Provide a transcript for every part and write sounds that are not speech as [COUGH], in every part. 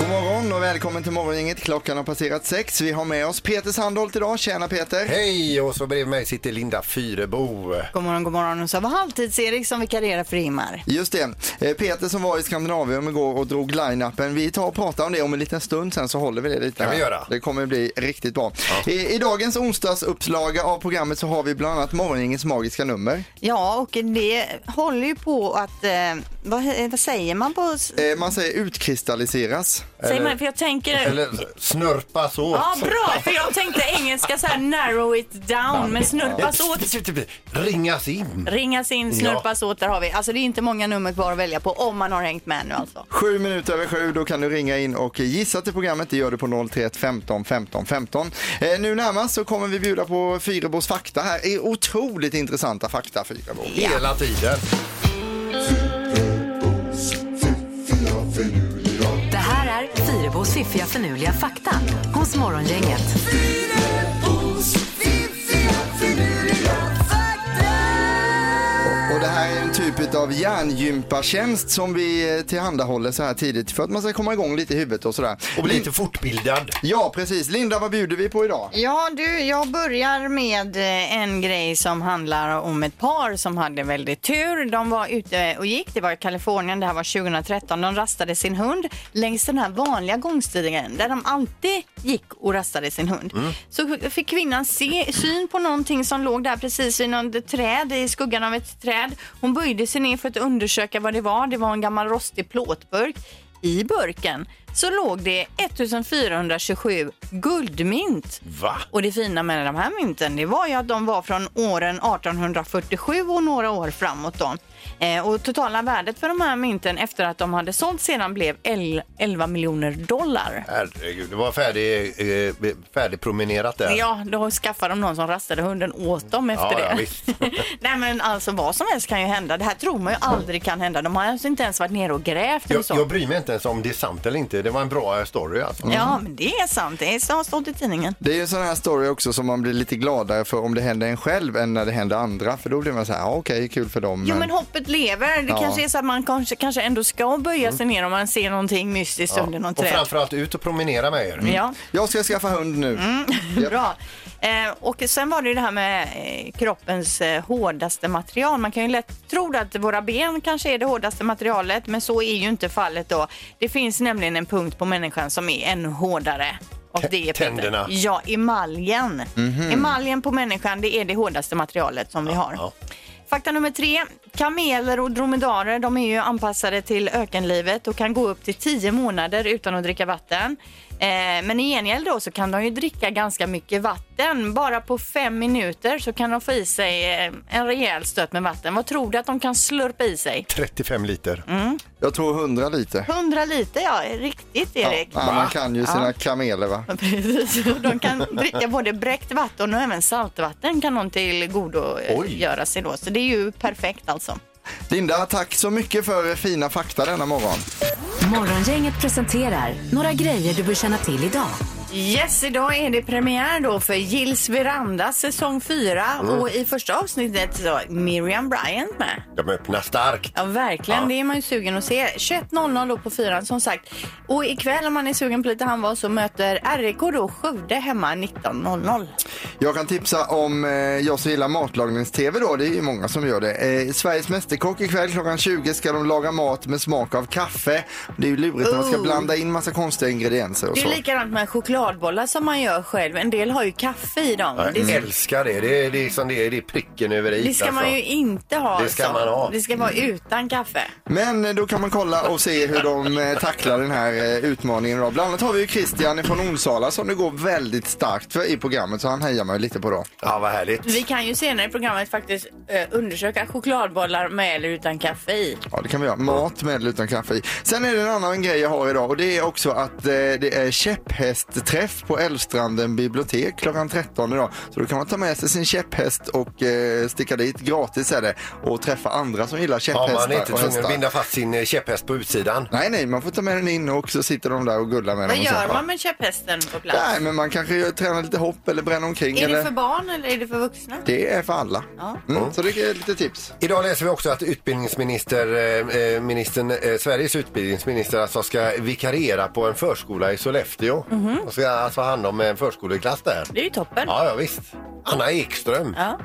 God morgon och välkommen till morgongänget. Klockan har passerat sex. Vi har med oss Peter Sandholt idag. Tjena Peter! Hej! Och så bredvid mig sitter Linda Fyrebo. God morgon, god morgon. Och så var halvtids-Erik som vikarierar för Ingmar. Just det. Eh, Peter som var i Skandinavium igår och drog line-upen. Vi tar och pratar om det om en liten stund sen så håller vi det lite. Kan vi här. göra. Det kommer bli riktigt bra. I, I dagens onsdagsupplaga av programmet så har vi bland annat morgongängets magiska nummer. Ja, och det håller ju på att... Eh, vad, eh, vad säger man på... s- Eh, man säger utkristalliseras. Säger man, för jag tänker... Eller snörpas åt. Ja, bra, för jag tänkte engelska så här narrow it down, men snurpas åt. Typ, Ringas in. Ringas in, snurpas åt, där har vi. Alltså det är inte många nummer kvar att välja på om man har hängt med nu alltså. Sju minuter över sju, då kan du ringa in och gissa till programmet. Det gör du på 031 15 15 15. Eh, nu närmast så kommer vi bjuda på Fyrebos fakta här. Det är otroligt intressanta fakta, Fyrebo. Hela tiden. Det här är Fyrabos fiffiga förnuliga fakta hos Morgongänget. Och det här är en typ av hjärngympatjänst som vi eh, tillhandahåller så här tidigt för att man ska komma igång lite i huvudet och sådär. Och bli Lin- lite fortbildad. Ja, precis. Linda, vad bjuder vi på idag? Ja du, jag börjar med eh, en grej som handlar om ett par som hade väldigt tur. De var ute och gick, det var i Kalifornien, det här var 2013. De rastade sin hund längs den här vanliga gångstigen där de alltid gick och rastade sin hund. Så fick kvinnan se, syn på någonting som låg där precis vid något träd, i skuggan av ett träd. Hon böjde sig ner för att undersöka vad det var. Det var en gammal rostig plåtburk. I burken så låg det 1427 guldmynt. Va? Och det fina med de här mynten det var ju att de var från åren 1847 och några år framåt. Då. Eh, och totala värdet för de här mynten efter att de hade sålt sedan blev el- 11 miljoner dollar. Herregud, det var färdig, eh, färdigpromenerat där. Ja, då skaffade de någon som rastade hunden åt dem efter Ja, ja, det. visst. [LAUGHS] Nej men alltså vad som helst kan ju hända. Det här tror man ju aldrig kan hända. De har alltså inte ens varit nere och grävt eller Jag, så. jag bryr mig inte ens om det är sant eller inte. Det var en bra story alltså. Ja, men det är sant. Det är- har stått i tidningen. Det är ju en sån här story också som man blir lite gladare för om det händer en själv än när det händer andra. För då blir man så här, ja, okej, kul för dem. Jo men hoppet lever. Det Ja. kanske är så att man kanske, kanske ändå ska böja sig ner om man ser någonting mystiskt under något Mm. Och Mm. träd. framförallt ut och promenera med er. Ja, Jag ska skaffa hund nu. Mm. Ja. bra. Eh, och sen var det ju det här med eh, kroppens eh, hårdaste material. Man kan ju lätt tro att våra ben kanske är det hårdaste materialet, men så är ju inte fallet då. Det finns nämligen en punkt på människan som är ännu hårdare. Och Tä- det är Peter. tänderna. Mhm. Ja, emaljen. Emaljen på människan, det är det hårdaste materialet som vi har. ja. Fakta nummer tre. Kameler och dromedarer de är ju anpassade till ökenlivet och kan gå upp till tio månader utan att dricka vatten. Eh, men i gengäld då så kan de ju dricka ganska mycket vatten. Bara på fem minuter så kan de få i sig eh, en rejäl stöt med vatten. Vad tror du att de kan slurpa i sig? 35 liter. Mm. Jag tror hundra lite. 100 liter ja, riktigt Erik. Ja, man kan ju sina kameler va? [LAUGHS] Precis, och de kan dricka både bräckt vatten och även saltvatten kan de till godo eh, Oj. göra sig då. Så det är ju perfekt alltså. Linda, tack så mycket för fina fakta denna morgon. Morgongänget presenterar några grejer du bör känna till idag. Yes, idag är det premiär då för Gills veranda säsong 4 Mm. och i första avsnittet så är Miriam Bryant med. De öppnar starkt. Ja, verkligen. Det är man ju sugen att se. 21.00 då på fyran som sagt. Och ikväll om man är sugen på lite handboll så möter RIK då Skövde hemma 19.00. Jag kan tipsa om, eh, jag som gillar matlagnings-tv då, det är ju många som gör det. Eh, Sveriges Mästerkock ikväll klockan 20 ska de laga mat med smak av kaffe. Det är ju lurigt när man ska Oh. blanda in massa konstiga ingredienser och Det så. är likadant med choklad chokladbollar som man gör själv. En del har ju kaffe i dem. Jag Det, ska, älskar det. Det är, det, är liksom, det, är, det är pricken över i. alltså. det ska man ju inte ha. Det ska så. man ha. Det ska vara utan kaffe. Men eh, då kan man kolla och se hur de eh, tacklar den här eh, utmaningen. Då. Bland annat har vi ju Christian från Onsala som det går väldigt starkt för i programmet så han hejar man ju lite på då. Ja, vad härligt. Vi kan ju senare i programmet faktiskt eh, undersöka chokladbollar med eller utan kaffe i. Ja, det kan vi göra. Mat med eller utan kaffe i. Sen är det en annan grej jag har idag och det är också att eh, det är käpphästträff på Älvstranden bibliotek klockan 13 idag. Så då kan man ta med sig sin käpphäst och eh, sticka dit. Gratis är det. Och träffa andra som gillar Ja, käpphästar man är inte och tvungen hästar. att binda fast sin eh, käpphäst på utsidan. Nej, nej, man får ta med den in och så sitter de där och gullar med Vad dem. och så. gör man med käpphästen på plats? Nej, men man kanske gör- tränar lite hopp eller bränner omkring. Är eller... det för barn eller är det för vuxna? Det är för alla. Mm, så det är lite tips. Idag läser vi också att utbildningsminister, eh, eh, ministern, eh, Sveriges utbildningsminister alltså ska vikariera på en förskola i Sollefteå. Mhm. Och ska alltså ha hand om en förskoleklass där. Det är ju toppen. Ja, ja visst. Anna Ekström. Ja.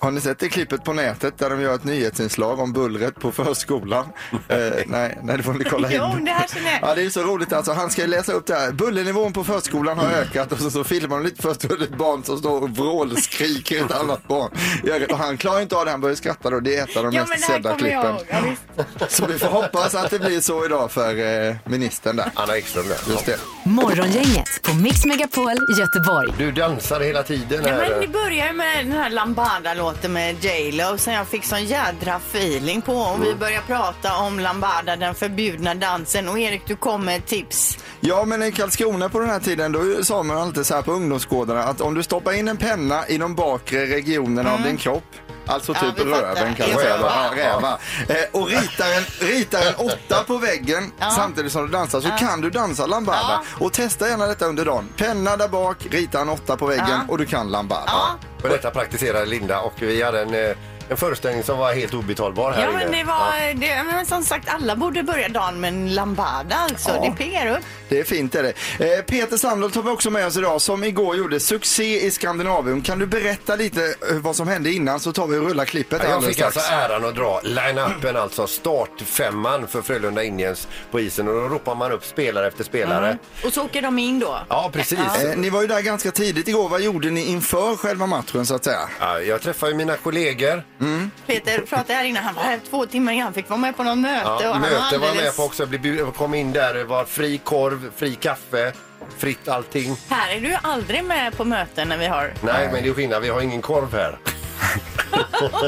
Har ni sett det klippet på nätet där de gör ett nyhetsinslag om bullret på förskolan? eh, nej, nej, det får ni kolla in. Jo, det här känner jag. [LAUGHS] Ja, det är så roligt alltså. Han ska ju läsa upp det här. Bullernivån på förskolan har ökat och så, så filmar de lite först hur ett barn som står och vrålskriker ett annat barn. Gör det. Och han klarar inte av det, han börjar skratta då. Det är ett av de Ja, men mest det här sedda kommer jag klippen. ihåg. Ja, visst. Så vi får hoppas att det blir så idag för eh, ministern där. Anna Ekström där. Just det. Morgongänget på Mix Megapol Göteborg. Du dansar hela tiden Ja, här. eh. men det börjar ju med den här Lambada-låten med J.Lo som jag fick sån jädra feeling på. Och vi börjar prata om Lambada, den förbjudna dansen. Och Erik, du kom med ett tips. Ja, men i Karlskrona på den här tiden då sa man alltid så här på ungdomsgårdarna att om du stoppar in en penna i de bakre regionerna av din kropp Alltså Mm. Ja, typ vi fattar. röven kan man Räva. säga. Ja, räva. Eh, och ritar en, ritar en åtta på väggen samtidigt som du dansar så kan du dansa lambada. Och testa gärna detta under dagen. Penna där bak, rita en åtta på väggen och du kan lambada. Och detta praktiserade Linda och vi hade en, eh, en föreställning som var helt obetalbar här Ja, inne. men det var... Det, men som sagt, alla borde börja dagen med en Lambada alltså. Ja. Det piggar upp. Det är fint är det. Eh, Peter Sandholt har vi också med oss idag som igår gjorde succé i Skandinavium. Kan du berätta lite eh, vad som hände innan så tar vi och rullar klippet Ja, Jag alldeles fick strax. alltså äran att dra line-upen, alltså startfemman för Frölunda Indians på isen och då ropar man upp spelare efter spelare. Mm. Och så åker de in då. Ja, precis. Mm. Eh, Ni var ju där ganska tidigt igår. Vad gjorde ni inför själva matchen så att säga? Ja, jag träffar ju mina kollegor. Peter pratade här innan. Han var här två timmar innan. Han fick vara med på något möte. och Ja, han möte var jag alldeles- med på också. Jag blev bjud- Jag kom in där, det var fri korv, fri kaffe, fritt allting. Här är du ju aldrig med på möten när vi har... Nej, men det är skillnad. Vi har ingen [LAUGHS] korv här.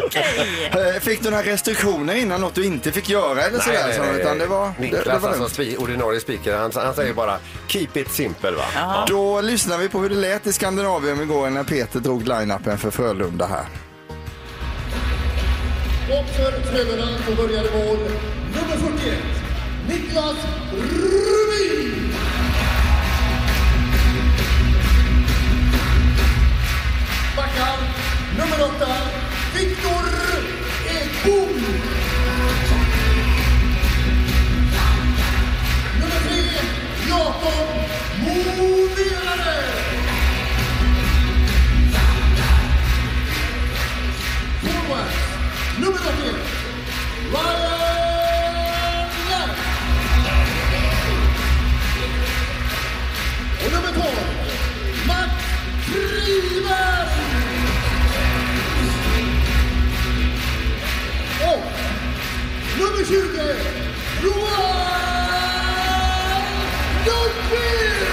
Okej! Eh, Fick du några restriktioner innan något du inte fick göra eller sådär? så, utan det var, det, Niklas, det var alltså lugnt. spi- ordinarie speaker, han, han säger bara keep it simple va. Ja. Då lyssnar vi på hur det lät i Skandinavium igår när Peter drog line-upen för Frölunda här. Och för Frölunda så börjar det mål nummer 41, Niklas Rubin! Backar nummer 8, Viktor Ekbom! Nummer 3, Jakob Monerare! Forwards, nummer 81, Ryan Lapp. Och nummer 12, Matt Kriver. Och nummer 20, Johan Lundqvist.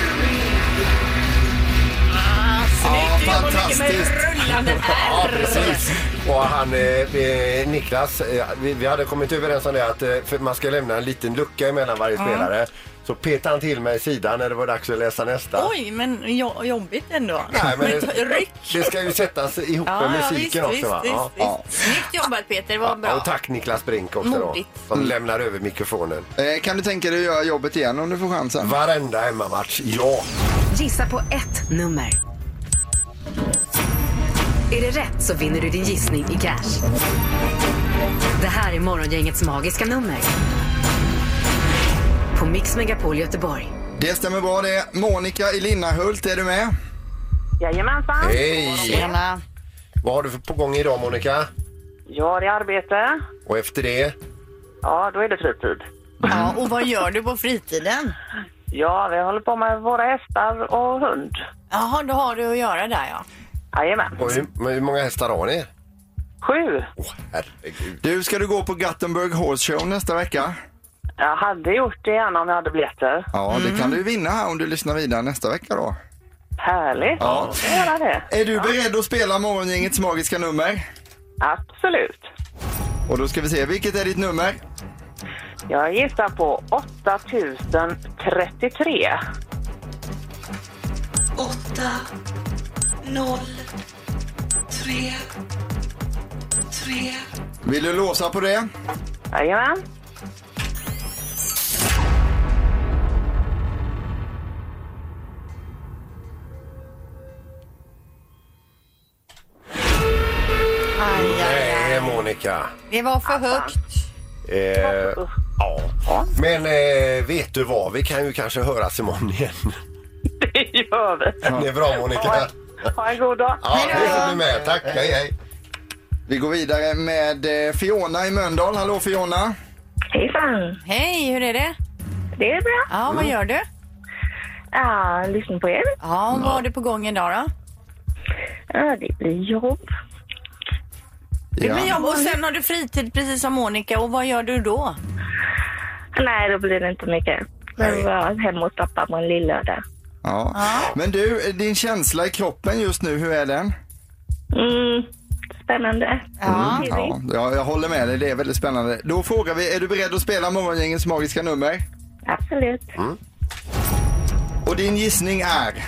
Ja, Med fantastiskt! rullande R. Precis. Och han, eh, eh, Niklas, eh, vi, vi hade kommit överens om det att eh, för man ska lämna en liten lucka emellan varje spelare. Så petade han till mig i sidan när det var dags att läsa nästa. Oj, men jo- jobbigt ändå. Nej, men ta- det, ryck! det ska ju sättas ihop Ja, med ja, musiken visst, också visst, va? Visst, Ja. visst. Snyggt jobbat Peter, det var Ja, bra. och tack Niklas Brink också då, Modigt. Mm. som lämnar över mikrofonen. Eh, Kan du tänka dig att göra jobbet igen om du får chansen? Varenda hemmamatch, ja! Gissa på ett nummer. Är det rätt så vinner du din gissning i cash. Det här är Morgongängets magiska nummer. På Mix Megapol Göteborg. Det stämmer bra det. Monica i Linnahult, är du med? Jajamensan. Hej! Tjena. Vad har du för på gång idag Monica? Ja, det är arbete. Och efter det? Ja, då är det fritid. Ja, och vad gör du på fritiden? Ja, vi håller på med våra hästar och hund. Jaha, då har du att göra där ja. Jajamän. Och hur, men hur många hästar har ni? Sju. Åh herregud. Du, ska du gå på Gothenburg Horse Show nästa vecka? Jag hade gjort det gärna om jag hade biljetter. Ja, det kan du vinna här om du lyssnar vidare nästa vecka då. Härligt. Ja. Jag ska göra det. Är du beredd att spela Morgongängets magiska nummer? Absolut. Och då ska vi se, vilket är ditt nummer? Jag gissar på 8033. 8, 0, 3, 3. Vill du låsa på det? Jajamän. Nej, Monica. Det var för högt. Eh, ja. Men eh, vet du vad, vi kan ju kanske höras imorgon igen. [LAUGHS] Det gör vi. Det är bra Monica. Ha en god dag. Ja, det får du med. Tack, hej hej. Vi går vidare med eh, Fiona i Mölndal. Hallå Fiona! Hejsan! Hej, hur är det? Det är bra. Ja, Mm. vad gör du? Ja, lyssnar på er. Ja, vad har du på gång idag då? Ja, det blir jobb. Det blir jobb och sen har du fritid precis som Monica och vad gör du då? Nej, då blir det inte mycket. Jag var hemma hos pappa på en lillördag. Ja. Men du, eh, din känsla i kroppen just nu, hur är den? Mm, spännande. Mm, ja, jag, jag håller med dig, det är väldigt spännande. Då frågar vi, är du beredd att spela Morgongängets magiska nummer? Absolut. Och din gissning är?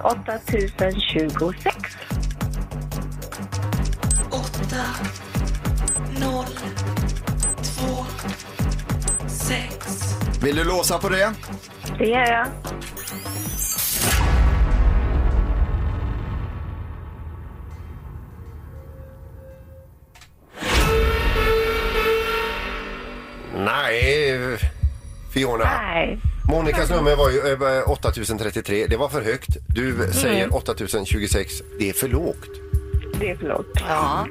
8026. 8, 0, 2, 6. Vill du låsa på det? Det gör jag. Nej, Fiona. Nej. Monicas nummer var ju eh, 8033. Det var för högt. Du säger Mm. 8026. Det är för lågt. Det är för lågt. Ja.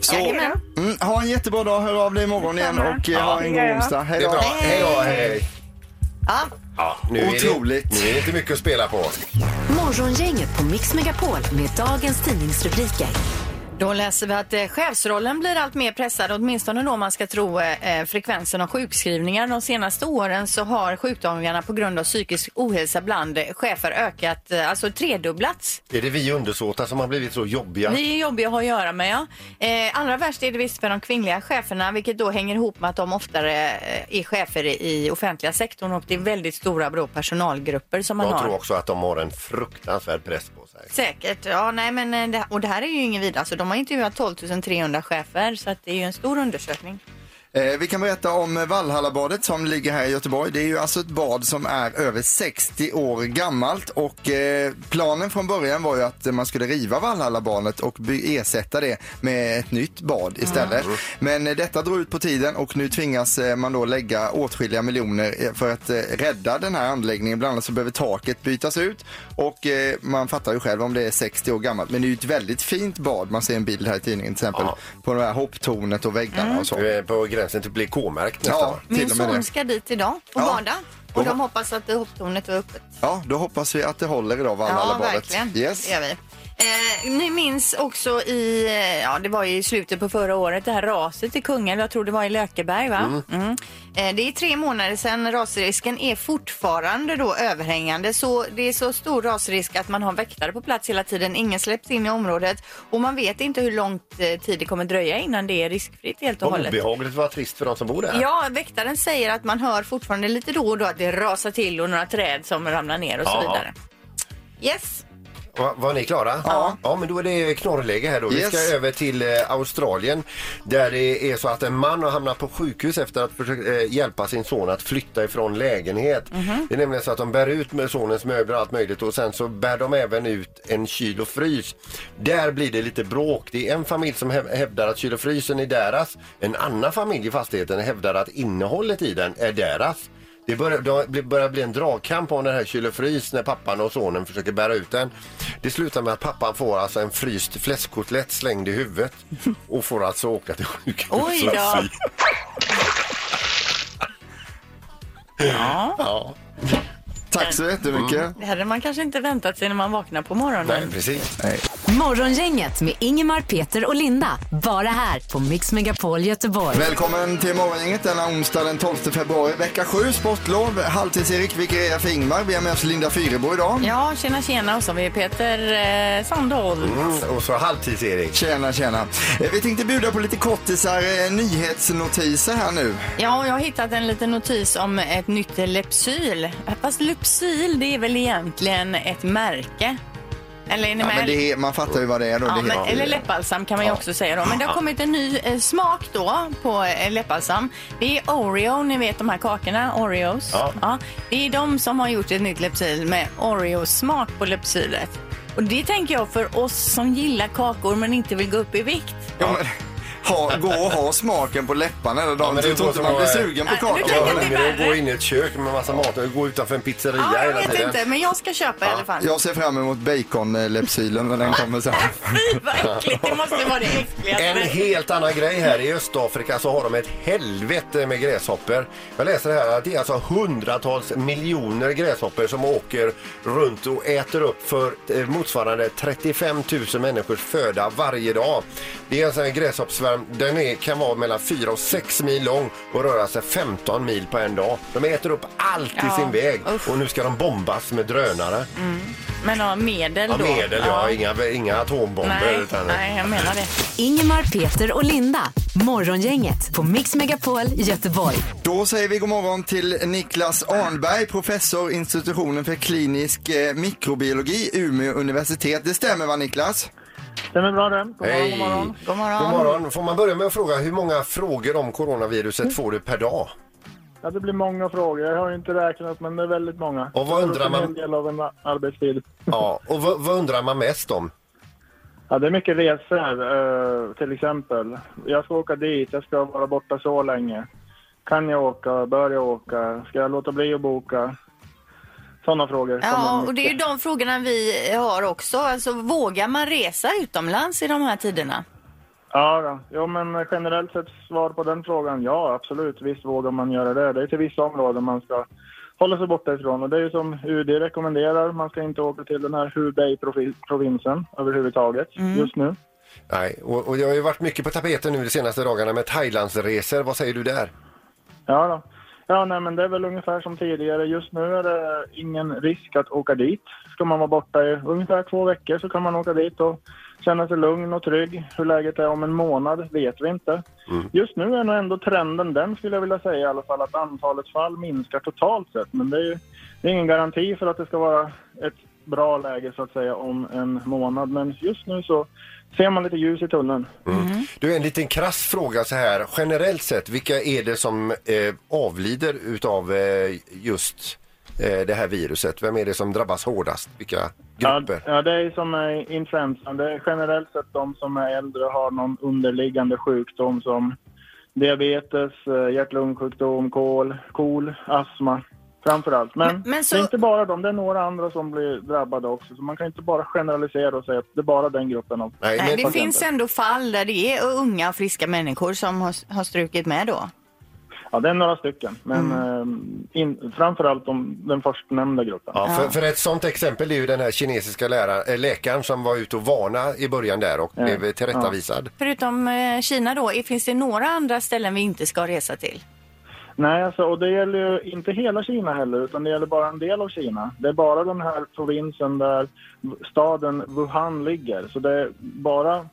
Så, mm, ha en jättebra dag, hör av dig imorgon igen och eh, ha en god onsdag. Hej då! Det är bra. Hej då, hej. Ja. Ja, nu Är Otroligt. det, nu är det inte mycket att spela på. Morgongänget på Mix Megapol med dagens tidningsrubriker. Då läser vi att eh, chefsrollen blir allt mer pressad, åtminstone då om man ska tro eh, frekvensen av sjukskrivningar. De senaste åren så har sjukdagarna på grund av psykisk ohälsa bland eh, chefer ökat, eh, alltså tredubblats. Är det vi undersåtar som har blivit så jobbiga? Vi är jobbiga att ha att göra med. Ja. Eh, allra värst är det visst med de kvinnliga cheferna, vilket då hänger ihop med att de oftare eh, är chefer i offentliga sektorn och det är väldigt stora då, personalgrupper som man Jag har. tror också att de har en fruktansvärd press på sig. Säkert. Ja, nej, men, eh, det, och det här är ju ingen vidare. Alltså, de har intervjuat 12 300 chefer så att det är ju en stor undersökning. Eh, vi kan berätta om eh, Vallhallabadet som ligger här i Göteborg. Det är ju alltså ett bad som är över 60 år gammalt och eh, planen från början var ju att eh, man skulle riva Vallhallabadet och by- ersätta det med ett nytt bad istället. Men eh, detta drog ut på tiden och nu tvingas eh, man då lägga åtskilliga miljoner eh, för att eh, rädda den här anläggningen. Bland annat så behöver taket bytas ut och eh, man fattar ju själv om det är 60 år gammalt. Men det är ju ett väldigt fint bad. Man ser en bild här i tidningen till exempel på det här hopptornet och väggarna och så. Du är Eh, på gränsen till att bli K-märkt nästan. Ja, va? Min till och med son det. ska dit idag och bada. Och de hoppas att hopptornet var öppet. Ja, då hoppas vi att det håller idag, Ja, Valhallabadet. verkligen. Yes. Det gör vi. Eh, ni minns också i, eh, ja det var ju i slutet på förra året, det här raset i Kungälv, jag tror det var i Lökeberg va? Mm. Eh, det är tre månader sedan, rasrisken är fortfarande då överhängande så det är så stor rasrisk att man har väktare på plats hela tiden, ingen släpps in i området och man vet inte hur lång eh, tid det kommer dröja innan det är riskfritt helt och Vad hållet. obehagligt vad trist för de som bor där. Ja, väktaren säger att man hör fortfarande lite då och då att det rasar till och några träd som ramlar ner och så Ja. vidare. Yes. Va, var ni klara? Ja. ja. men då är det knorrläge här då. Vi Yes. ska över till eh, Australien där det är så att en man har hamnat på sjukhus efter att försöka eh, hjälpa sin son att flytta ifrån lägenhet. Mhm. Det är nämligen så att de bär ut med sonens möbler och allt möjligt och sen så bär de även ut en kyl och frys. Där blir det lite bråk. Det är en familj som häv- hävdar att kyl och frysen är deras. En annan familj i fastigheten hävdar att innehållet i den är deras. Det börjar, det blir- börjar bli en dragkamp om den här kyl och frys när pappan och sonen försöker bära ut den. Det slutar med att pappan får alltså en fryst fläskkotlett slängd i [LAUGHS] huvudet och får alltså åka till sjukhus. Oj då. Alltså. ja. Tack så jättemycket. Mm. Det hade man kanske inte väntat sig när man vaknar på morgonen. precis. Nej. Morgongänget med Ingemar, Peter och Linda. Bara här på Mix Megapol Göteborg. Välkommen till morgongänget denna onsdag den 12 februari. Vecka 7, sportlov. Halvtids-Erik Wigrea för Ingmar. Vi har med oss Linda Fyrebo idag. Ja, tjena tjena och så har vi Peter eh, Sandholm. Mm, Och så halvtids-Erik. Tjena, tjena. Eh, Vi tänkte bjuda på lite kortisar, eh, nyhetsnotiser här nu. Ja, och jag har hittat en liten notis om ett nytt Lepsyl. Fast Lepsyl, det är väl egentligen ett märke? Eller är ni Ja, med? men det är, man fattar ju vad det är då. Ja, det men, heter- eller läppbalsam kan man ju Ja. också säga då. Men det har Ja. kommit en ny eh, smak då på eh, läppbalsam. Det är Oreo, ni vet de här kakorna, Oreos. Ja. Det är de som har gjort ett nytt Lepsyl med Oreo-smak på Lepsylet. Och det tänker jag för oss som gillar kakor men inte vill gå upp i vikt. Ja, men, ha, gå och ha smaken på läpparna hela dagen. men det Jag tror går inte som man blir att- sugen på kakor. Ja, men det är att gå in i ett kök med massa mat och gå utanför en pizzeria Ja, jag hela vet tiden. inte, men jag ska köpa i alla fall. Jag ser fram emot baconlepsylen när den kommer sen. Det måste vara det äckligaste. En helt annan grej här. I Östafrika så har de ett helvete med gräshoppor. Jag läser här att det är alltså hundratals miljoner gräshoppor som åker runt och äter upp för eh, motsvarande 35 000 människors föda varje dag. Det är alltså en gräshoppsvärm. Den är, kan vara mellan 4 och 6 mil lång och röra sig 15 mil på en dag. De äter upp allt Ja, i sin väg usch. och nu ska de bombas med drönare. Mm. Men ja, medel Ja, då. medel, ja. Inga, inga atombomber. Nej, utan, nej, jag menar det. Ingemar, Peter och Linda. Morgongänget på Mix Megapol Göteborg. Då säger vi god morgon till Niklas Arnberg, professor institutionen för klinisk eh, mikrobiologi, Umeå universitet. Det stämmer va Niklas? Stämmer bra det. Hej! God morgon. Får man börja med att fråga hur många frågor om coronaviruset får du per dag? Ja, det blir många frågor. Jag har ju inte räknat, men det är väldigt många. Och vad Det är undrar man- En del av en arbetstid. Ja, och vad, vad undrar man mest om? Ja, det är mycket resor, eh, till exempel. Jag ska åka dit, jag ska vara borta så länge. Kan jag åka? Bör jag åka? Ska jag låta bli att boka? Sådana frågor. Ja, kommer och det är ju mycket. de frågorna vi har också. Alltså, vågar man resa utomlands i de här tiderna? Ja, då. jo, men generellt sett svar på den frågan, ja absolut, visst vågar man göra det. Det är till vissa områden man ska hålla sig borta ifrån och det är ju som UD rekommenderar, man ska inte åka till den här Hubei-provinsen överhuvudtaget Mm. just nu. Nej, och, och jag har ju varit mycket på tapeten nu de senaste dagarna med Thailandsresor. Vad säger du där? Ja, då. ja nej, men det är väl ungefär som tidigare. Just nu är det ingen risk att åka dit. Ska man vara borta i ungefär två veckor så kan man åka dit och känna sig lugn och trygg. Hur läget är om en månad vet vi inte. Just nu är nog ändå trenden den skulle jag vilja säga i alla fall att antalet fall minskar totalt sett. Men det är ju det är ingen garanti för att det ska vara ett bra läge så att säga om en månad. Men just nu så ser man lite ljus i tunneln. Mm. Du, en liten krass fråga så här. Generellt sett, vilka är det som eh, avlider utav eh, just eh, det här viruset? Vem är det som drabbas hårdast? Vilka grupper? Ja, det är som eh, influensan. Det är generellt sett de som är äldre har någon underliggande sjukdom som diabetes, eh, hjärt-lungsjukdom, kol, KOL, astma framför allt. Men, Men så- det är inte bara de, det är några andra som blir drabbade också. Så man kan inte bara generalisera och säga att det är bara den gruppen av Nej, det finns ändå fall där det är unga och friska människor som har, har strukit med då. Ja, det är några stycken. Men Mm. eh, in, framförallt de, den förstnämnda gruppen. Ja, för, för ett sånt exempel är ju den här kinesiska lära, eh, läkaren som var ute och varna i början där och blev eh, tillrättavisad. Förutom eh, Kina då, är- finns det några andra ställen vi inte ska resa till? Nej, alltså, och det gäller ju inte hela Kina heller, utan det gäller bara en del av Kina. Det är bara den här provinsen där staden Wuhan ligger. Så det är bara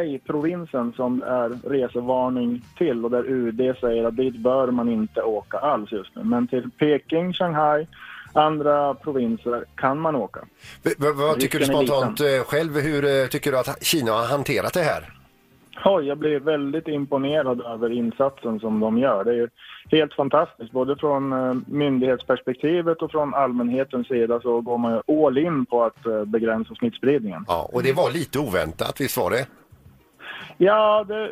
Hubei-provinsen som det är resevarning till och där UD säger att dit bör man inte åka alls just nu. Men till Peking, Shanghai, andra provinser kan man åka. V- v- vad tycker du Risken är liten. spontant eh, själv? Hur eh, tycker du att Kina har hanterat det här? Oj, jag blir väldigt imponerad över insatsen som de gör. Det är ju helt fantastiskt, både från eh, myndighetsperspektivet och från allmänhetens sida så går man ju all in på att eh, begränsa smittspridningen. Ja, och det Mm. var lite oväntat, visst var det? Ja, det,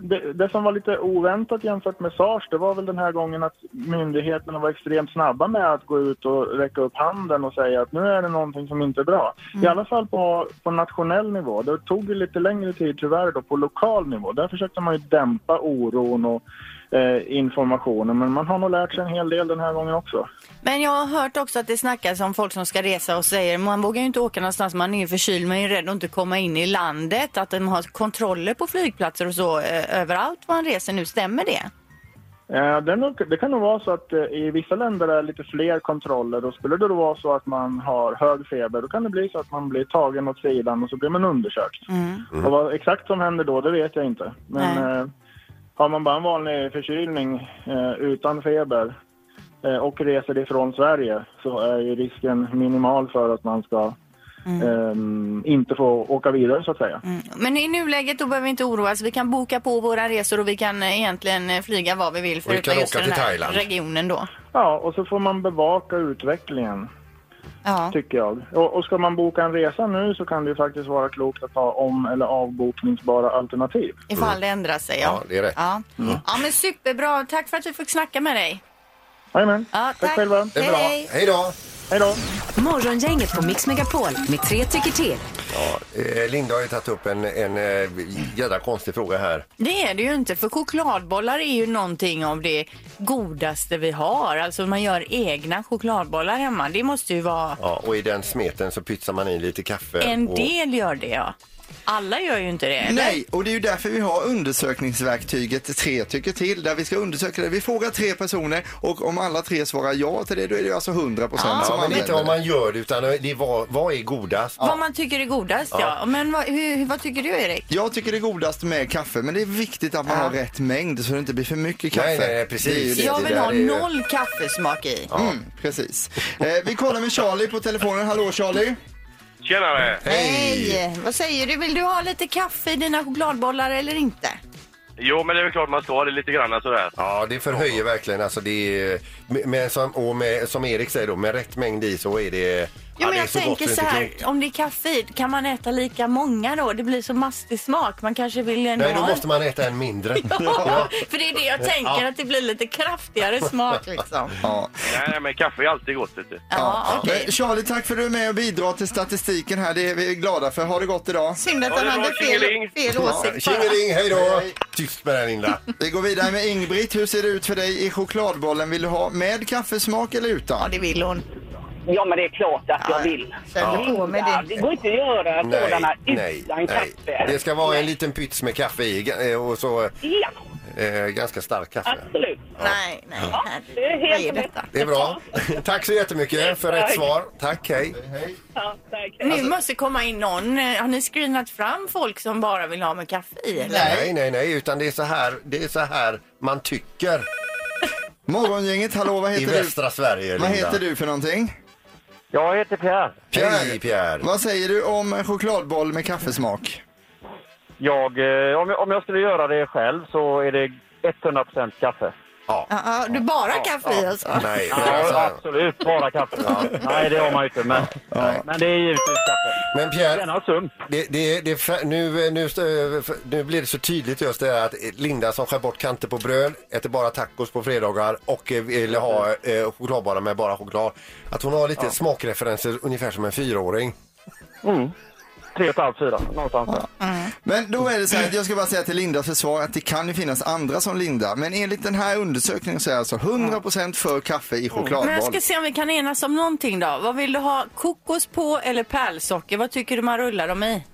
det, det som var lite oväntat jämfört med SARS det var väl den här gången att myndigheterna var extremt snabba med att gå ut och räcka upp handen och säga att nu är det någonting som inte är bra. I alla fall på, på nationell nivå. Det tog ju lite längre tid tyvärr då på lokal nivå. Där försökte man ju dämpa oron och eh, informationen men man har nog lärt sig en hel del den här gången också. Men jag har hört också att det snackas om folk som ska resa och säger man vågar ju inte åka någonstans, man är ju förkyld, man är ju rädd att inte komma in i landet, att de har kontroller på flygplatser och så eh, överallt man reser nu. Stämmer det? Eh, Det, är nog- det kan nog vara så att eh, i vissa länder är det lite fler kontroller och skulle det då vara så att man har hög feber då kan det bli så att man blir tagen åt sidan och så blir man undersökt. Och vad exakt som händer då, det vet jag inte. Men eh, har man bara en vanlig förkylning eh, utan feber eh, och reser ifrån Sverige så är ju risken minimal för att man ska ehm, inte få åka vidare så att säga. Men i nuläget då behöver vi inte oroa oss. Vi kan boka på våra resor och vi kan eh, egentligen eh, flyga var vi vill Och vi förutom kan just åka den till här Thailand. regionen då. Ja, och så får man bevaka utvecklingen. Ja. Tycker jag. Och, och ska man boka en resa nu så kan det ju faktiskt vara klokt att ha om eller avbokningsbara alternativ. Mm. Ifall det ändrar sig. Ja. det är rätt. Ja. ja, men superbra. Tack för att vi fick snacka med dig. Jajamän. Ja, Tack själva. Det är bra. Hej, Hej då! Hej då! Morgongänget på Mix Megapol med tre tycker till. Ja, eh, Linda har ju tagit upp en, en eh, jävla konstig fråga här. Det är det ju inte, för chokladbollar är ju någonting av det godaste vi har. Alltså man gör egna chokladbollar hemma. Det måste ju vara... Ja, och i den smeten så pytsar man i lite kaffe. En och... del gör det, ja. Alla gör ju inte det. eller? Nej, och det är ju därför vi har undersökningsverktyget Tre tycker till, där vi ska undersöka det. Vi frågar tre personer och om alla tre svarar ja till det, då är det ju alltså 100 procent som Ja, men använder inte det. om man gör det utan det är vad, vad är godast? Vad man tycker är godast, ja. Ja. Men vad, hur, vad tycker du, Erik? Jag tycker det är godast med kaffe, men det är viktigt att man har rätt mängd så det inte blir för mycket kaffe. Nej, nej, nej, precis. Det är ju det. Jag Det vill där ha är ju- noll kaffesmak i. Mm, precis. Eh, vi kollar med Charlie på telefonen. Hallå Charlie! Tjenare! Hej! Vad säger du? Vill du ha lite kaffe i dina chokladbollar eller inte? Jo, men det är väl klart man ska ha det lite grann sådär. Ja, det förhöjer verkligen. Alltså det är, med, med, som, och med, som Erik säger då, med rätt mängd i så är det... Jo, Jo, ja, men det är jag så gott tänker det så inte är här, klokt. om det är kaffe i, kan man äta lika många då? Det blir så mastig smak. Man kanske vill ändå Nej, då ha en- måste man äta en mindre. [LAUGHS] Ja, för det är det jag tänker, Ja. att det blir lite kraftigare smak liksom. Ja. Nej, men kaffe är alltid gott, vet du. Ja, Men Eh, Charlie, tack för att du är med och bidrar till statistiken här. Det är vi glada för. Ha det gott idag. Synd att Ha han det hade bra, fel- tjingeling. fel åsikt Ja, Tjingeling, hej då! Tyst med den Linda. Vi går vidare med Ingbritt. Hur ser det ut för dig i chokladbollen? Vill du ha med kaffesmak eller utan? Ja, det vill hon. Ja, men det är klart att jag vill. känner på med det. Det går inte att göra sådana utan kaffe. Det ska vara en liten pyts med kaffe i eh, och så Ja, eh, ganska stark kaffe. absolut. Nej, nej. Ja. Det är helt rätt. Det är bra. [LAUGHS] Tack så jättemycket för rätt Tack. svar. Tack, hej. Alltså, Alltså- Nu måste komma in någon. Eh, Har ni screenat fram folk som bara vill ha med kaffe i? Eller? Nej, nej, nej, utan det är så här, det är så här man tycker. Morgongänget, hallå, vad heter I du? västra Sverige, Vad Linda. heter du för någonting? Jag heter Pierre. Hej, Pierre. Vad säger du om en chokladboll med kaffesmak? Jag, eh, om, jag, om jag skulle göra det själv så är det 100% kaffe. Ja. Ja, ja, du bara kaffe i alltså? Nej, ja, absolut bara kaffe. Nej, det har man ju inte. Men, men det är givetvis kaffe. Men Pierre, det, det, det, fa- nu, nu, stö- nu blir det så tydligt just det här att Linda som skär bort kanter på bröd, äter bara tacos på fredagar och eh, vill ha eh, chokladbollar med bara choklad. Att hon har lite Ja. smakreferenser ungefär som en fyraåring. Mm. Tre och ett halvt, fyra. Någonstans där. Men då är det så här att jag ska bara säga till Lindas försvar att det kan ju finnas andra som Linda. Men enligt den här undersökningen så är alltså 100% för kaffe i chokladboll. Men jag ska se om vi kan enas om någonting då. Vad vill du ha? Kokos på eller pärlsocker? Vad tycker du man rullar dem i?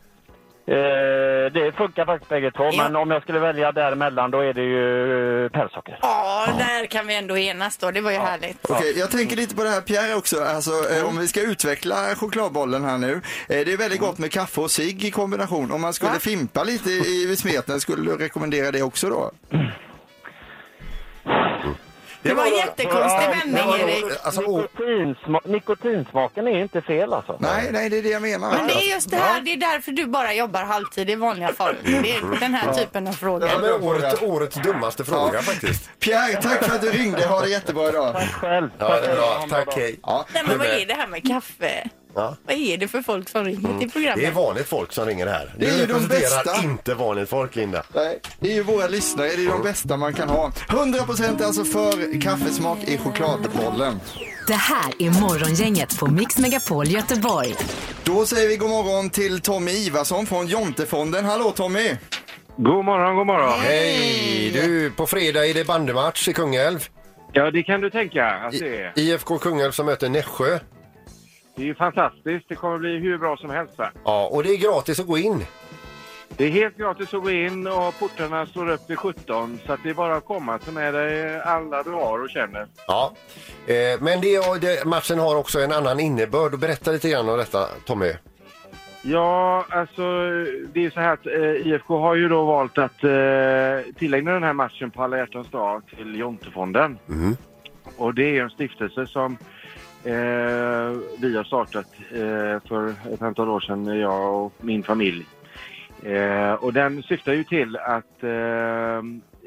Eh, det funkar faktiskt bägge två, men om jag skulle välja däremellan då är det ju eh, pärlsocker. Ja, där kan vi ändå enas då. Det var ju härligt. Okej, jag tänker lite på det här Pierre också, alltså, eh, om vi ska utveckla chokladbollen här nu. Eh, det är väldigt gott med kaffe och cigg i kombination. Om man skulle fimpa lite i, i smeten, skulle du rekommendera det också då? Det var jättekonstig vändning, Erik. Alltså, Nikotinsma- nikotinsmaken är inte fel alltså. Nej, nej, det är det jag menar. Men det är just det här, det är därför du bara jobbar halvtid i vanliga fall. Det är den här typen av frågor. Ja, men året, årets dummaste fråga faktiskt. Pierre, tack för att du ringde. Ha det jättebra idag. Tack själv. Ja, det är bra. Tack, hej. Ja. Nej, men vad är det här med kaffe? Ja. Vad är Mm. det för folk som ringer till Det är programmet? vanligt folk som ringer här. Det är Du ju de representerar bästa. inte vanligt folk, Linda. Nej, Eh, det är ju våra lyssnare, det är de bästa man kan ha. 100% är alltså för kaffesmak i chokladbollen. Det här är Morgongänget på Mix Megapol Göteborg. Då säger vi god morgon till Tommy Ivarsson från Jontefonden. Hallå Tommy! God morgon, god morgon. Hej! Du, på fredag är det bandymatch i Kungälv. Ja, det kan du tänka att det är. IFK Kungälv som möter Nässjö. Det är ju fantastiskt. Det kommer bli hur bra som helst. Va? Ja, och det är gratis att gå in. Det är helt gratis att gå in och portarna står upp till 17 så att det är bara att komma. Ta med dig alla du har och känner. Ja. Eh, men det, och det, matchen har också en annan innebörd. Berätta lite grann om detta, Tommy. Ja, alltså det är ju så här att eh, IFK har ju då valt att eh, tillägna den här matchen på Alla hjärtans dag till Jontefonden. Och det är ju en stiftelse som eh, vi har startat eh, för ett antal år sedan, jag och min familj. Eh, och den syftar ju till att eh,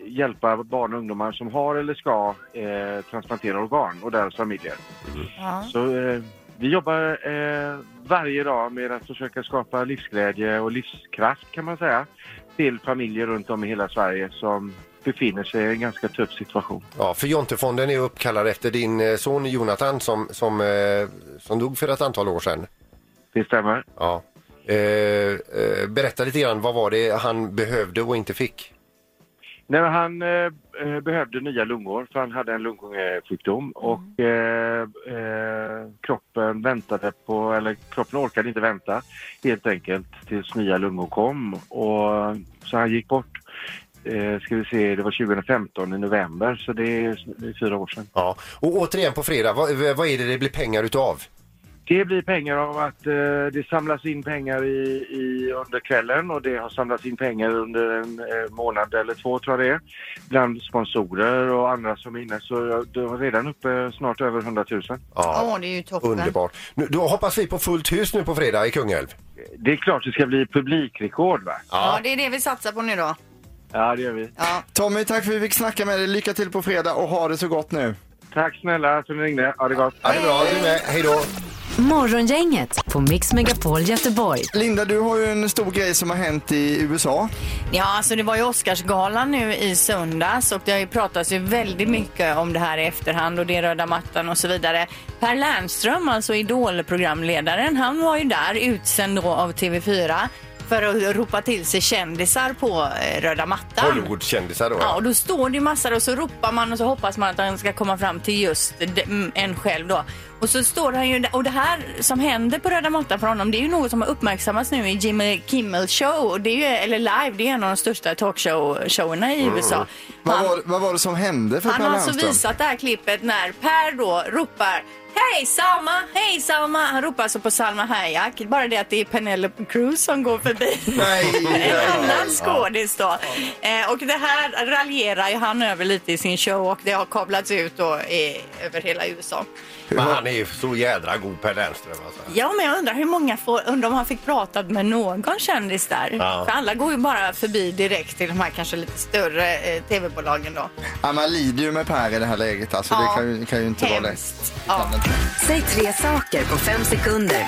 hjälpa barn och ungdomar som har eller ska eh, transplantera organ och deras familjer. Så eh, vi jobbar eh, varje dag med att försöka skapa livsglädje och livskraft kan man säga till familjer runt om i hela Sverige som befinner sig i en ganska tuff situation. Ja, för Jontefonden är uppkallad efter din eh, son Jonathan som, som, eh, som dog för ett antal år sedan. Det stämmer. Ja. Eh, eh, berätta lite grann, vad var det han behövde och inte fick? Nej, men han eh, eh, behövde nya lungor för han hade en lungorgansjukdom och eh, eh, kroppen väntade på, eller kroppen orkade inte vänta helt enkelt tills nya lungor kom och så han gick bort. Eh, ska vi se, det var 2015 i november så det är s- fyra år sedan. Ja. Och återigen på fredag, vad, vad är det det blir pengar utav? Det blir pengar av att eh, det samlas in pengar i, i, under kvällen och det har samlats in pengar under en eh, månad eller två tror jag det är. Bland sponsorer och andra som är inne så eh, de är redan uppe snart över 100 000. Ja, Åh, det är ju toppen. underbart. Nu, då hoppas vi på fullt hus nu på fredag i Kungälv. Det är klart det ska bli publikrekord va? Ja, det är det vi satsar på nu då. Ja, det gör vi. Tommy, tack för att vi fick snacka med dig. Lycka till på fredag och ha det så gott nu. Tack snälla för att ni ringde. Ha det gott. Ha det bra. Du med. Hej då. Morgongänget på Mix Megapol Göteborg. Linda, du har ju en stor grej som har hänt i USA. Ja, alltså det var ju Oscarsgalan nu i söndags och det har ju pratats ju väldigt mycket om det här i efterhand och det är röda mattan och så vidare. Per Lernström, alltså Idol-programledaren, han var ju där utsänd då av TV4 för att ropa till sig kändisar på eh, röda mattan. Hollywoodkändisar då. Ja, och då står det ju massor och så ropar man och så hoppas man att han ska komma fram till just de- mm, en själv då. Och så står han ju där- och det här som händer på röda mattan för honom det är ju något som har uppmärksammats nu i Jimmy Kimmel show, och det är ju, eller live, det är en av de största talkshow-showerna i USA. Mm. Vad, var, vad var det som hände för Han Per har alltså Lernström? visat det här klippet när Per då ropar Hej Salma, hej Salma! Han ropar alltså på Salma Hayek. Bara det att det är Penelope Cruz som går förbi. en annan skådis då. Eh, och det här raljerar ju han över lite i sin show och det har kablats ut då i, över hela USA. Men han är ju så jädra god Per Lernström alltså. Ja, men jag undrar hur många får, undrar om han fick prata med någon kändis där. Ja. För alla går ju bara förbi direkt till de här kanske lite större eh, tv-bolagen då. Ja, man lider ju med Per i det här läget. Alltså, Ja. Det kan ju, kan ju inte vara lätt. Ja. Säg tre saker på fem sekunder.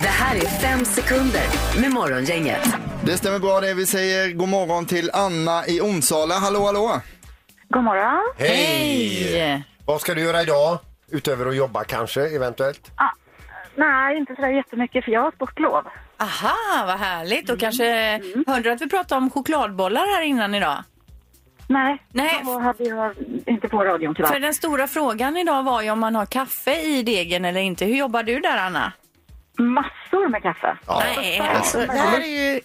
Det här är fem sekunder med Morgongänget. Det stämmer bra det. Vi säger god morgon till Anna i Onsala. Hallå, hallå! God morgon. Hej! Vad ska du göra idag? Utöver att jobba kanske, eventuellt? Nej, inte sådär jättemycket för jag har sportlov. Aha, vad härligt. Och kanske hörde du att vi pratade om chokladbollar här innan idag? Nej, Nej. då hade jag inte på radion För tyvärr. den stora frågan idag var ju om man har kaffe i degen eller inte. Hur jobbar du där, Anna? Massor med kaffe. Nej, alltså, det här är ju...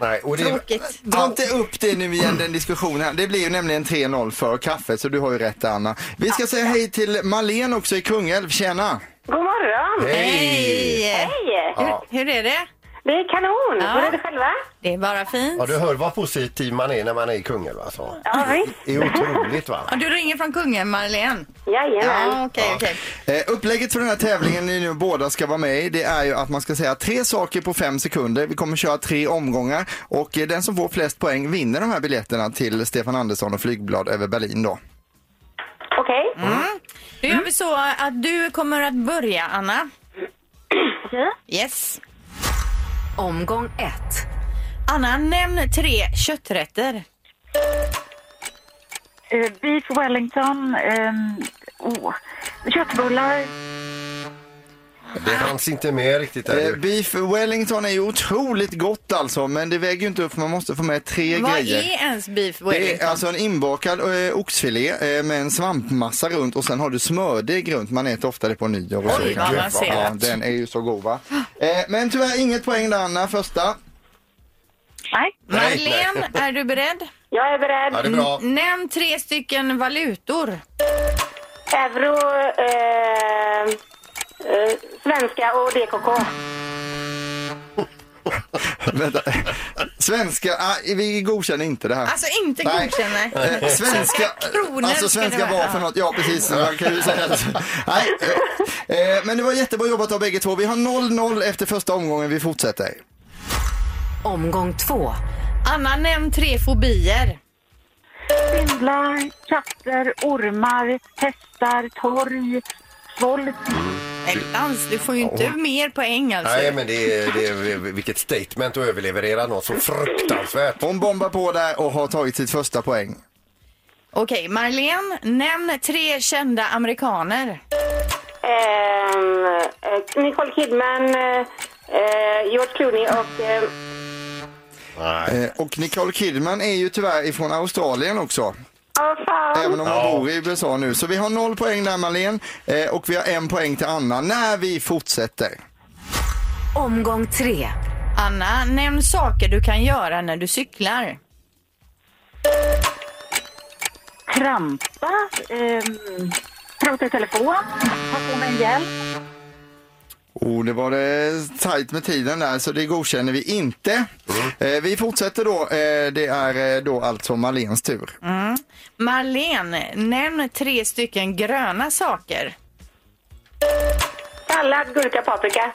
Nej, och det, Tråkigt. Dra inte upp det nu igen, den diskussionen. här. Det blir ju nämligen 3-0 för kaffe, så du har ju rätt Anna. Vi ska säga hej till Malen också i Kungälv. Tjena! God morgon. Hej! Hej! Ja. Hur är det? Det är kanon. Ja. Hur är det själva? Det är bara fint. ja, du hör vad positiv man är när man är i Kungälv alltså. Ja, visst. Det är otroligt va? Ja, du ringer från kungen, Marlene? Jajamän. Ja, okej, okej. Eh, upplägget för den här tävlingen ni nu båda ska vara med i, det är ju att man ska säga tre saker på fem sekunder. Vi kommer köra tre omgångar och eh, den som får flest poäng vinner de här biljetterna till Stefan Andersson och flygblad över Berlin då. Okej. Nu gör vi så att du kommer att börja, Anna. Yes. Omgång ett. Anna, nämn tre kötträtter. Eh, beef Wellington. ehm, åh. Köttbullar. Det hanns inte med riktigt. Där. Eh, beef Wellington är ju otroligt gott alltså, men det väger ju inte upp för man måste få med tre Vad grejer. är ens beef Det är wellington? alltså en inbakad eh, oxfilé eh, med en svampmassa runt och sen har du smördeg runt. Man äter ofta det på nyår. och så Oj, vidare. vad avancerat. ja, Den är ju så god va. Eh, men tyvärr inget poäng där Anna, första. Nej. Madeleine, är du beredd? Jag är beredd. Ja, det är bra. N- Nämn tre stycken valutor. Euro, eh, eh, svenska och DKK. Vänta. Svenska, ah, vi godkänner inte det här. Alltså inte Nej. godkänner. Eh, [LAUGHS] svenska, kronor alltså ska svenska det vara. var för något, ja precis. Man kan ju säga att, nej. Eh, eh, Men det var jättebra jobbat av bägge två. Vi har 0-0 efter första omgången, vi fortsätter. Omgång två. Anna, nämn tre fobier. Spindlar, katter, ormar, hästar, torg, svolk. Dans, du får ju inte Ja. mer poäng alltså. Nej, men det är, det är, vilket statement att överleverera något så fruktansvärt. Hon bombar på där och har tagit sitt första poäng. Okej, Marlene, nämn tre kända amerikaner. Ehm, eh, Nicole Kidman, eh, eh, George Clooney och... Eh, Eh, Och Nicole Kidman är ju tyvärr ifrån Australien också. oh, fan. Även om hon Ja. bor i USA nu. Så vi har noll poäng där Marlene eh, och vi har en poäng till Anna när vi fortsätter. Omgång tre. Anna, nämn saker du kan göra när du cyklar. Trampa, ehm, prata i telefon, ta på mig en hjälm. Oh, det var det tajt med tiden där, så det godkänner vi inte. Eh, vi fortsätter då. Eh, det är eh, då alltså Marlens tur. Mm. Marlene, nämn tre stycken gröna saker. Sallad, gurka, paprika.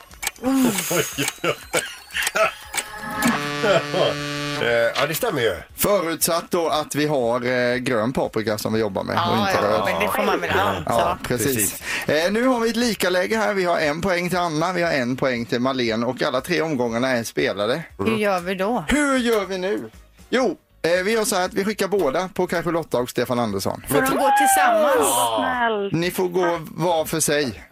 Eh, ja, det stämmer ju. Förutsatt då att vi har eh, grön paprika som vi jobbar med. Ja, ja, men det får man väl anta. Ja, precis. Eh, nu har vi ett lika läge här. Vi har en poäng till Anna, vi har en poäng till Marlene och alla tre omgångarna är spelade. Hur gör vi då? Hur gör vi nu? Jo, eh, vi gör så här att vi skickar båda på kanske Lotta och Stefan Andersson. Får de gå tillsammans? Ni får gå var för sig.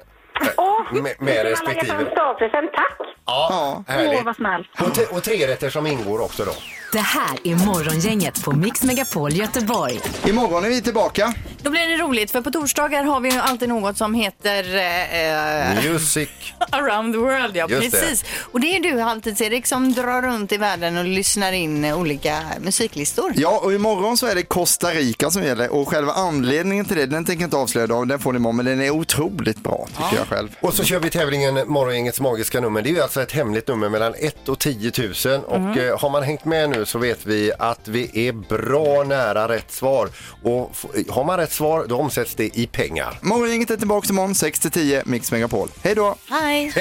Med, med respektive. Present, tack! Ja, Åh, vad härligt. snällt. Och, te- och tre rätter som ingår också då. Det här är Morgongänget på Mix Megapol Göteborg. Imorgon är vi tillbaka. Då blir det roligt för på torsdagar har vi ju alltid något som heter eh, eh, Music. Around the world, ja Just det. precis. Och det är du alltid Erik som drar runt i världen och lyssnar in eh, olika musiklistor. Ja, och imorgon så är det Costa Rica som gäller och själva anledningen till det, den tänker jag inte avslöja idag, den får ni imorgon, men den är otroligt bra tycker jag själv. Och så kör vi tävlingen Morgongängets magiska nummer. Det är ju alltså ett hemligt nummer mellan 1 och 10 000 och eh, har man hängt med nu så vet vi att vi är bra nära rätt svar. Och f- har man rätt svar då omsätts det i pengar. Morgongänget är tillbaka imorgon 6-10, Mix Megapol. Hej då! Hej!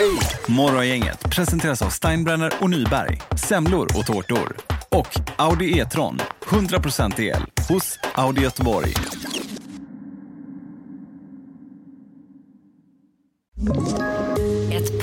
Morgongänget presenteras av Steinbrenner och Nyberg, semlor och tårtor. Och Audi E-tron, 100% el, hos Audi Göteborg. Ett